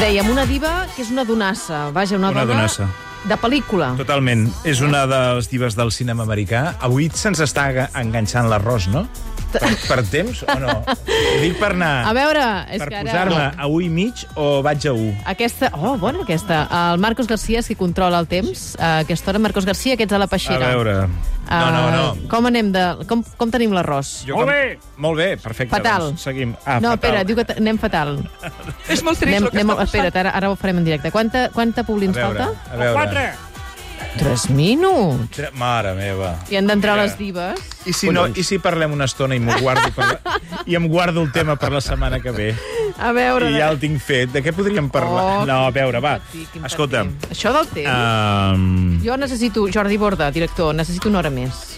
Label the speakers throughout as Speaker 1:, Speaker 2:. Speaker 1: Dèiem una diva que és una donassa. Vaja, una,
Speaker 2: Una
Speaker 1: dona
Speaker 2: donassa.
Speaker 1: de pel·lícula.
Speaker 2: Totalment. És una de les divas del cinema americà. Avui se'ns està aga- enganxant l'arròs, no? Per, per temps o no? Ho dic per anar...
Speaker 1: A veure, és
Speaker 2: Ah. per
Speaker 1: que ara...
Speaker 2: posar-me a 1 i mig o vaig a 1?
Speaker 1: Aquesta... Oh, bona aquesta. El Marcos Garcia és qui controla el temps. A aquesta hora, Marcos Garcia, que ets a la
Speaker 2: A
Speaker 1: peixera.
Speaker 2: veure... No, no,
Speaker 1: Eh,
Speaker 2: no.
Speaker 1: Com anem de... Com, com tenim l'arròs?
Speaker 2: Jo com... Molt bé, perfecte.
Speaker 1: Fatal.
Speaker 2: Doncs seguim. Ah,
Speaker 1: no,
Speaker 2: fatal.
Speaker 1: espera, diu que t- anem fatal.
Speaker 3: És molt trist
Speaker 1: anem,
Speaker 3: el que
Speaker 1: anem,
Speaker 3: està passant.
Speaker 1: espera't, ara, ara ho farem en directe. Quanta, quanta publi
Speaker 2: A
Speaker 1: ens
Speaker 2: veure,
Speaker 1: falta?
Speaker 2: a veure.
Speaker 3: Quatre.
Speaker 1: Tres minuts.
Speaker 2: Tre- Mare meva.
Speaker 1: I han d'entrar
Speaker 2: Mira.
Speaker 1: les divas.
Speaker 2: I si, no, I si parlem una estona i m'ho guardo per la, i em guardo el tema per la setmana que ve?
Speaker 1: A veure...
Speaker 2: I ja el tinc fet. De què podríem parlar?
Speaker 1: Oh,
Speaker 2: no, a veure, va.
Speaker 1: Patir, quin patir.
Speaker 2: Escolta'm.
Speaker 1: Això del temps...
Speaker 2: Um,
Speaker 1: Jo necessito, Jordi Borda, director, necessito una hora més.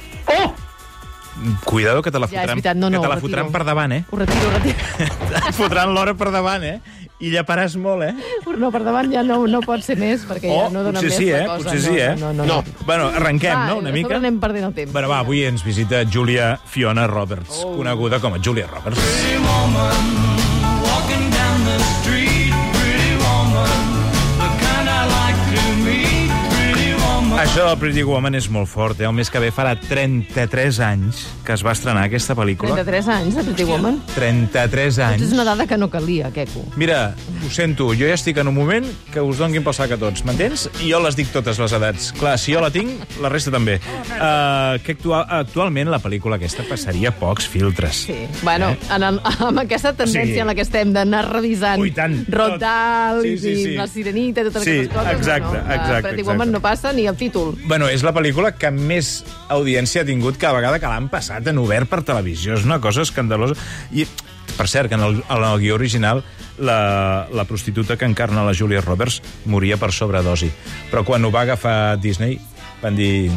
Speaker 2: cuidado, que te la
Speaker 1: Ja, és
Speaker 2: fotran,
Speaker 1: veritat, no, no,
Speaker 2: que te la
Speaker 1: ho
Speaker 2: fotran
Speaker 1: retiro.
Speaker 2: per davant, eh?
Speaker 1: Ho retiro, ho retiro.
Speaker 2: Et fotran l'hora per davant, eh? I llaparàs molt, eh?
Speaker 1: No, per davant ja no, no pot ser més, perquè ja
Speaker 2: Oh,
Speaker 1: no dona
Speaker 2: potser
Speaker 1: més
Speaker 2: sí,
Speaker 1: la
Speaker 2: eh?
Speaker 1: cosa.
Speaker 2: Potser
Speaker 1: no,
Speaker 2: sí, eh?
Speaker 1: No, no, no.
Speaker 2: Bueno, arrenquem,
Speaker 1: Va,
Speaker 2: no?, una
Speaker 1: a
Speaker 2: mica.
Speaker 1: sobre anem perdent el temps.
Speaker 2: Bueno, va, avui ens visita Julia Fiona Roberts, oh. coneguda com a Julia Roberts. Això del Pretty Woman és molt fort, eh? El mes que ve farà 33 anys que es va estrenar aquesta pel·lícula.
Speaker 1: 33 anys, de Pretty Woman.
Speaker 2: 33
Speaker 1: Això
Speaker 2: anys.
Speaker 1: és una dada que no calia, Queco.
Speaker 2: Mira, ho sento, jo ja estic en un moment que us donguin pel sac a tots, m'entens? I jo les dic totes les edats. Clar, si jo la tinc, la resta també. Uh, que actual, actualment la pel·lícula aquesta passaria pocs filtres.
Speaker 1: Sí. Bueno, en el, amb aquesta tendència
Speaker 2: Sí.
Speaker 1: en la que estem d'anar revisant
Speaker 2: Eh? Ui, tant.
Speaker 1: Rodal
Speaker 2: Sí, sí,
Speaker 1: i
Speaker 2: sí.
Speaker 1: La Sirenita i totes
Speaker 2: Sí,
Speaker 1: aquestes coses...
Speaker 2: exacte,
Speaker 1: no, no,
Speaker 2: exacte,
Speaker 1: Pretty
Speaker 2: exacte.
Speaker 1: Woman no passa ni el títol.
Speaker 2: Bueno, és la pel·lícula que més audiència ha tingut cada vegada que l'han passat en obert per televisió. És una cosa escandalosa. I, per cert, que en el, en el guió original la, la prostituta que encarna la Julia Roberts moria per sobredosi. Però quan ho va agafar Disney van dir...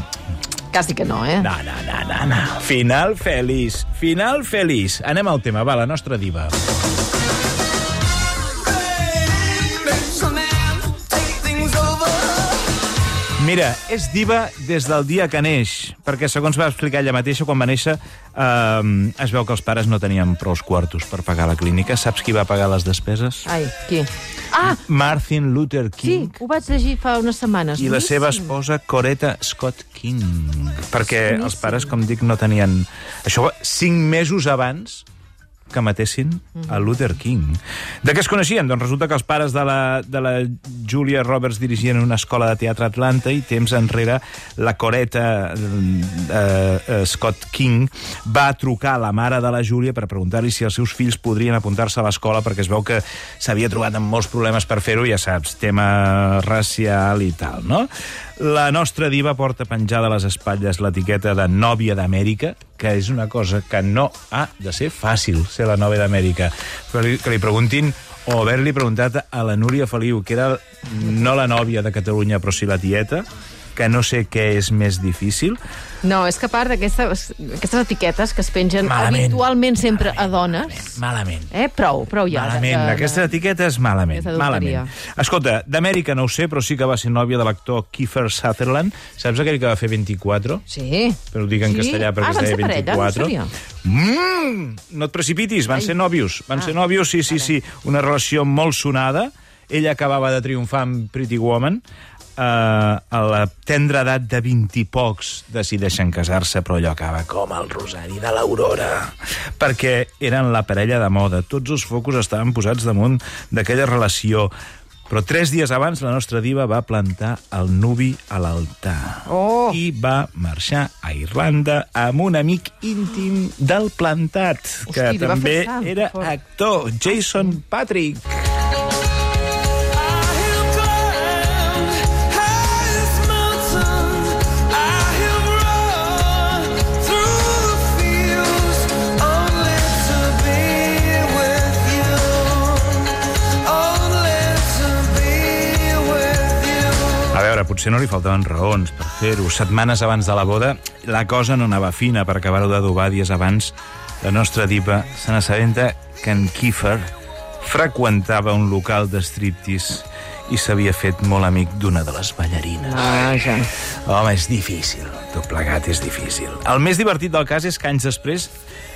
Speaker 1: Quasi que no, eh?
Speaker 2: No, no, no, no, no. Final feliç, final feliç. Anem al tema, va, la nostra diva. Mira, és diva des del dia que neix, perquè segons va explicar ella mateixa, quan va néixer eh, es veu que els pares no tenien prous quartos per pagar la clínica. Saps qui va pagar les despeses?
Speaker 1: Ai, qui? Ah,
Speaker 2: Martin Luther King.
Speaker 1: sí, ho vaig llegir fa unes setmanes.
Speaker 2: I la seva
Speaker 1: Boníssim.
Speaker 2: esposa, Coretta Scott King. Perquè
Speaker 1: Boníssim.
Speaker 2: els pares, com dic, no tenien... Això va cinc mesos abans que matessin a Luther King. De què es coneixien? Doncs resulta que els pares de la, de la Julia Roberts dirigien una escola de teatre a Atlanta i temps enrere la coreta eh, eh, Scott King va trucar a la mare de la Julia per preguntar-li si els seus fills podrien apuntar-se a l'escola perquè es veu que s'havia trobat amb molts problemes per fer-ho, ja saps, tema racial i tal, no? La nostra diva porta penjada a les espatlles l'etiqueta de nòvia d'Amèrica, que és una cosa que no ha de ser fàcil, ser la nòvia d'Amèrica. Però li- Que li preguntin o haver-li preguntat a la Núria Feliu, que era no la nòvia de Catalunya, però sí la tieta, que no sé què és més difícil.
Speaker 1: No, és que a part d'aquestes aquestes etiquetes que es pengen
Speaker 2: Malament.
Speaker 1: habitualment sempre a dones...
Speaker 2: Malament.
Speaker 1: Eh, prou, prou ja.
Speaker 2: Malament,
Speaker 1: de- de-
Speaker 2: aquesta etiqueta és malament.
Speaker 1: Aquesta adulteria.
Speaker 2: malament. Escolta, d'Amèrica no ho sé, però sí que va ser nòvia de l'actor Kiefer Sutherland. Saps aquell que va fer 24?
Speaker 1: Sí.
Speaker 2: Però ho dic en
Speaker 1: sí.
Speaker 2: castellà
Speaker 1: ah,
Speaker 2: perquè es
Speaker 1: van
Speaker 2: deia
Speaker 1: ser parella,
Speaker 2: 24.
Speaker 1: No ho sabia.
Speaker 2: Mm, no et precipitis, van Ai. ser nòvios. Van ah. ser nòvios, sí, sí, sí. Una relació molt sonada. Ella acabava de triomfar amb Pretty Woman. Uh, a la tendra edat de 20 i pocs decideixen casar-se, però allò acaba com el rosari de l'Aurora. Perquè eren la parella de moda. Tots els focus estaven posats damunt d'aquella relació. Però tres dies abans la nostra diva va plantar el nubi a l'altar
Speaker 1: Oh.
Speaker 2: i va marxar a Irlanda amb un amic íntim del plantat, que
Speaker 1: Hosti, li va
Speaker 2: també
Speaker 1: fer sang,
Speaker 2: era
Speaker 1: fort.
Speaker 2: actor, Jason Patrick. A veure, potser no li faltaven raons per fer-ho. Setmanes abans de la boda, la cosa no anava fina per acabar-ho d'adobar dies abans. La nostra diva se n'assabenta que en Kiefer freqüentava un local de striptease i s'havia fet molt amic d'una de les ballarines.
Speaker 1: Ah, ja.
Speaker 2: Home, és difícil. Tot plegat és difícil. El més divertit del cas és que anys després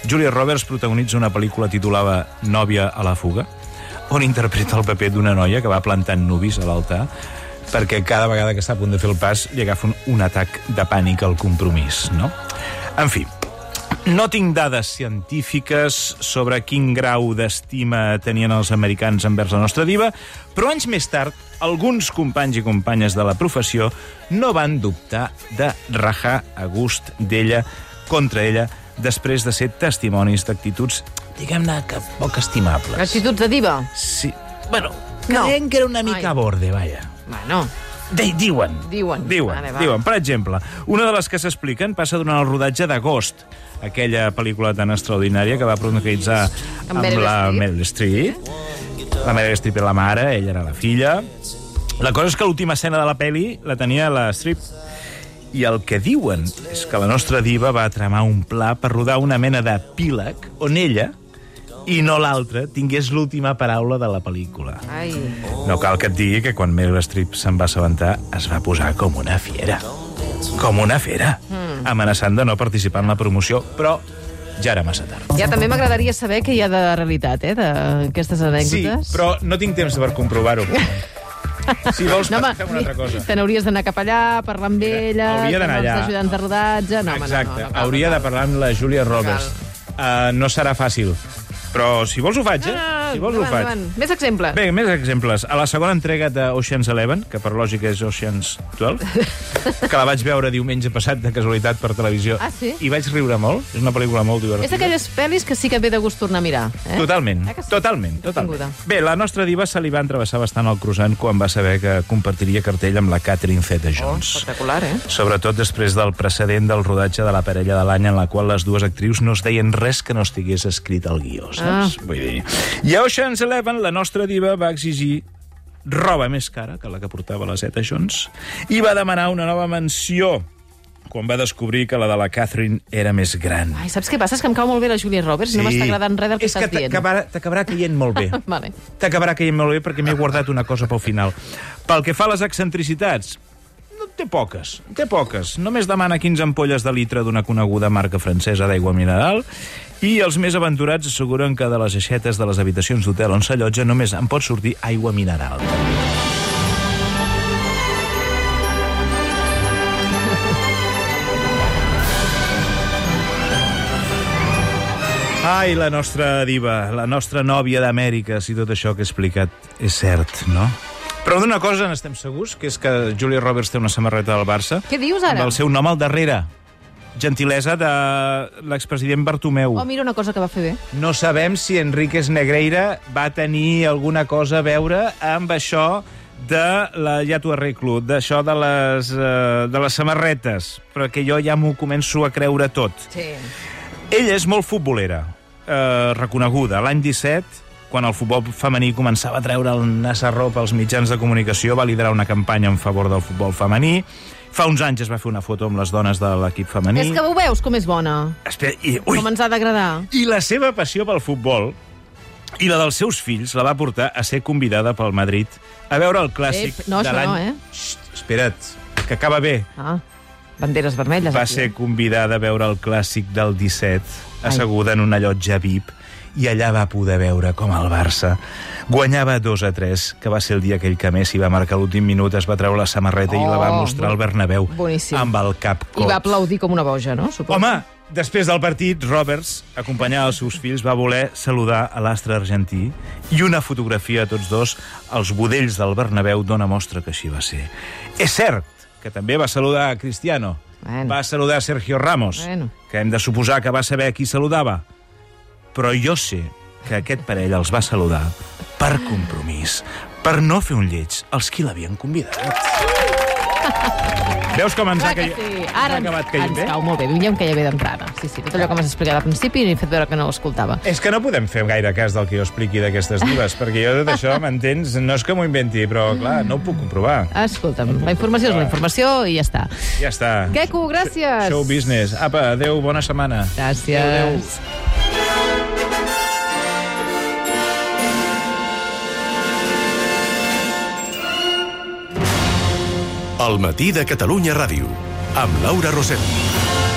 Speaker 2: Julia Roberts protagonitza una pel·lícula titulada Nòvia a la fuga, on interpreta el paper d'una noia que va plantant nubis a l'altar perquè cada vegada que està a punt de fer el pas li agafa un, un atac de pànic al compromís, no? En fi, no tinc dades científiques sobre quin grau d'estima tenien els americans envers la nostra diva, però anys més tard, alguns companys i companyes de la professió no van dubtar de rajar a gust d'ella contra ella després de ser testimonis d'actituds, diguem-ne, que poc estimables.
Speaker 1: Actituds de diva?
Speaker 2: Sí. Bueno,
Speaker 1: No.
Speaker 2: creiem que era una mica
Speaker 1: Ai.
Speaker 2: a borde, vaja.
Speaker 1: Bueno,
Speaker 2: De, diuen.
Speaker 1: Diuen.
Speaker 2: Diuen,
Speaker 1: Vale, va.
Speaker 2: diuen. Per exemple, una de les que s'expliquen passa durant el rodatge d'agost, aquella pel·lícula tan extraordinària que va protagonitzar
Speaker 1: Amb
Speaker 2: amb,
Speaker 1: Meryl
Speaker 2: la
Speaker 1: Streep.
Speaker 2: Meryl Streep. La Meryl Streep era la mare, ella era la filla. La cosa és que l'última escena de la peli la tenia la Streep i el que diuen és que la nostra diva va tramar un pla per rodar una mena d'epíleg on ella, i no l'altra, tingués l'última paraula de la pel·lícula.
Speaker 1: ai...
Speaker 2: No cal que et digui que quan Meryl Streep se'n va assabentar es va posar com una fiera. Com una fiera.
Speaker 1: Hmm.
Speaker 2: Mm. Amenaçant de no participar en la promoció, però ja era massa tard.
Speaker 1: Ja també m'agradaria saber què hi ha de realitat, eh, d'aquestes anècdotes.
Speaker 2: Sí, però no tinc temps per comprovar-ho. Si vols,
Speaker 1: No,
Speaker 2: no,
Speaker 1: home,
Speaker 2: fem una altra cosa.
Speaker 1: te n'hauries d'anar cap allà, parlar amb ella,
Speaker 2: hauria d'anar
Speaker 1: amb els
Speaker 2: allà.
Speaker 1: ajudants de rodatge... No, home,
Speaker 2: Exacte,
Speaker 1: no, no, no, cal,
Speaker 2: hauria
Speaker 1: no,
Speaker 2: de parlar amb la Julia Roberts. Uh, no serà fàcil, però si vols ho faig, eh?
Speaker 1: No, no, no,
Speaker 2: si vols ho
Speaker 1: Ah, endavant,
Speaker 2: faig.
Speaker 1: endavant. Més exemples.
Speaker 2: Bé, més exemples. A la segona entrega de Ocean's Eleven, que per lògica és Ocean's 12, que la vaig veure diumenge passat de casualitat per televisió,
Speaker 1: Ah, sí?
Speaker 2: i vaig riure molt. És una pel·lícula molt divertida.
Speaker 1: És d'aquelles pel·lis que sí que et ve de gust tornar a mirar. Eh?
Speaker 2: Totalment,
Speaker 1: Eh que sí?
Speaker 2: totalment, totalment.
Speaker 1: Benvinguda.
Speaker 2: Bé, la nostra diva se li va entrevessar bastant al croissant quan va saber que compartiria cartell amb la Catherine Zeta-Jones.
Speaker 1: Espectacular, eh?
Speaker 2: Sobretot després del precedent del rodatge de la parella de l'any en la qual les dues actrius no es deien res que no estigués escrit al guió, saps? Ah. Vull dir... I a Ocean's Eleven la nostra diva va exigir roba més cara que la que portava la Zeta Jones i va demanar una nova mansió quan va descobrir que la de la Catherine era més gran.
Speaker 1: Ai, saps què passa? És que em cau molt bé la Julia Roberts, sí. no m'està agradant res del que
Speaker 2: És que
Speaker 1: estàs dient.
Speaker 2: t'acabarà- T'acabarà caient molt bé.
Speaker 1: Vale.
Speaker 2: T'acabarà caient molt bé perquè m'he guardat una cosa pel final. Pel que fa a les excentricitats, no en té poques, en té poques. Només demana 15 ampolles de litre d'una coneguda marca francesa d'aigua mineral i els més aventurats asseguren que de les aixetes de les habitacions d'hotel on s'allotja només en pot sortir aigua mineral. Ai, la nostra diva, la nostra nòvia d'Amèrica, si tot això que he explicat és cert, no? Però d'una cosa n'estem segurs, que és que Julia Roberts té una samarreta del Barça.
Speaker 1: Què dius ara?
Speaker 2: Amb el seu nom al darrere. Gentilesa de l'expresident Bartomeu.
Speaker 1: Oh, mira una cosa que va fer bé.
Speaker 2: No sabem si Enriquez Negreira va tenir alguna cosa a veure amb això de la... Ja t'ho arreglo, d'això de, les, eh, de les samarretes, però que jo ja m'ho començo a creure tot.
Speaker 1: Sí.
Speaker 2: Ella és molt futbolera, eh, reconeguda. L'any 17, quan el futbol femení començava a treure el nas a ropa als mitjans de comunicació, va liderar una campanya en favor del futbol femení. Fa uns anys es va fer una foto amb les dones de l'equip femení.
Speaker 1: És que ho veus com és bona?
Speaker 2: Espera, i...
Speaker 1: Ui.
Speaker 2: Ui,
Speaker 1: Com ens ha d'agradar?
Speaker 2: i la seva passió pel futbol i la dels seus fills la va portar a ser convidada pel Madrid a veure el clàssic
Speaker 1: Ep, no,
Speaker 2: de
Speaker 1: això
Speaker 2: l'any...
Speaker 1: no, eh?
Speaker 2: Xt, espera't, que acaba bé.
Speaker 1: Ah, banderes vermelles.
Speaker 2: Va
Speaker 1: aquí. eh?
Speaker 2: ser convidada a veure el clàssic del 17, asseguda en una llotja VIP, i allà va poder veure com el Barça guanyava 2 a 3, que va ser el dia aquell que Messi va marcar l'últim minut, es va treure la samarreta oh, i la va
Speaker 1: Oh,
Speaker 2: mostrar al Bernabéu
Speaker 1: boníssim.
Speaker 2: amb el cap cot.
Speaker 1: I va aplaudir com una boja, no? Suposo.
Speaker 2: Home, després del partit, Roberts, acompanyada dels seus fills, va voler saludar a l'astre argentí i una fotografia a tots dos als budells del Bernabéu dona mostra que així va ser. És cert que també va saludar a Cristiano,
Speaker 1: Bueno.
Speaker 2: va saludar a Sergio Ramos,
Speaker 1: Bueno.
Speaker 2: que hem de suposar que va saber a qui saludava. Però jo sé que aquest parell els va saludar per compromís, per no fer un lleig als qui l'havien convidat. Veus com ens ha,
Speaker 1: Clar que
Speaker 2: caigut-
Speaker 1: sí.
Speaker 2: ens
Speaker 1: Ara
Speaker 2: ha
Speaker 1: ens,
Speaker 2: acabat caient
Speaker 1: ens
Speaker 2: bé?
Speaker 1: cau molt bé. Diu, ja em caia bé d'entrada. Sí, sí, tot allò que m'has explicat al principi i he fet veure que no ho escoltava.
Speaker 2: És que no podem fer gaire cas del que jo expliqui d'aquestes divas, perquè jo tot això, m'entens, no és que m'ho inventi, però, clar, no ho puc comprovar.
Speaker 1: Escolta'm, la informació és la informació i ja està.
Speaker 2: Ja està.
Speaker 1: Queco, gràcies.
Speaker 2: Show business. Apa, adeu, bona setmana.
Speaker 1: Gràcies.
Speaker 2: Adéu, adéu.
Speaker 3: El matí de Catalunya Ràdio, amb Laura Rosell.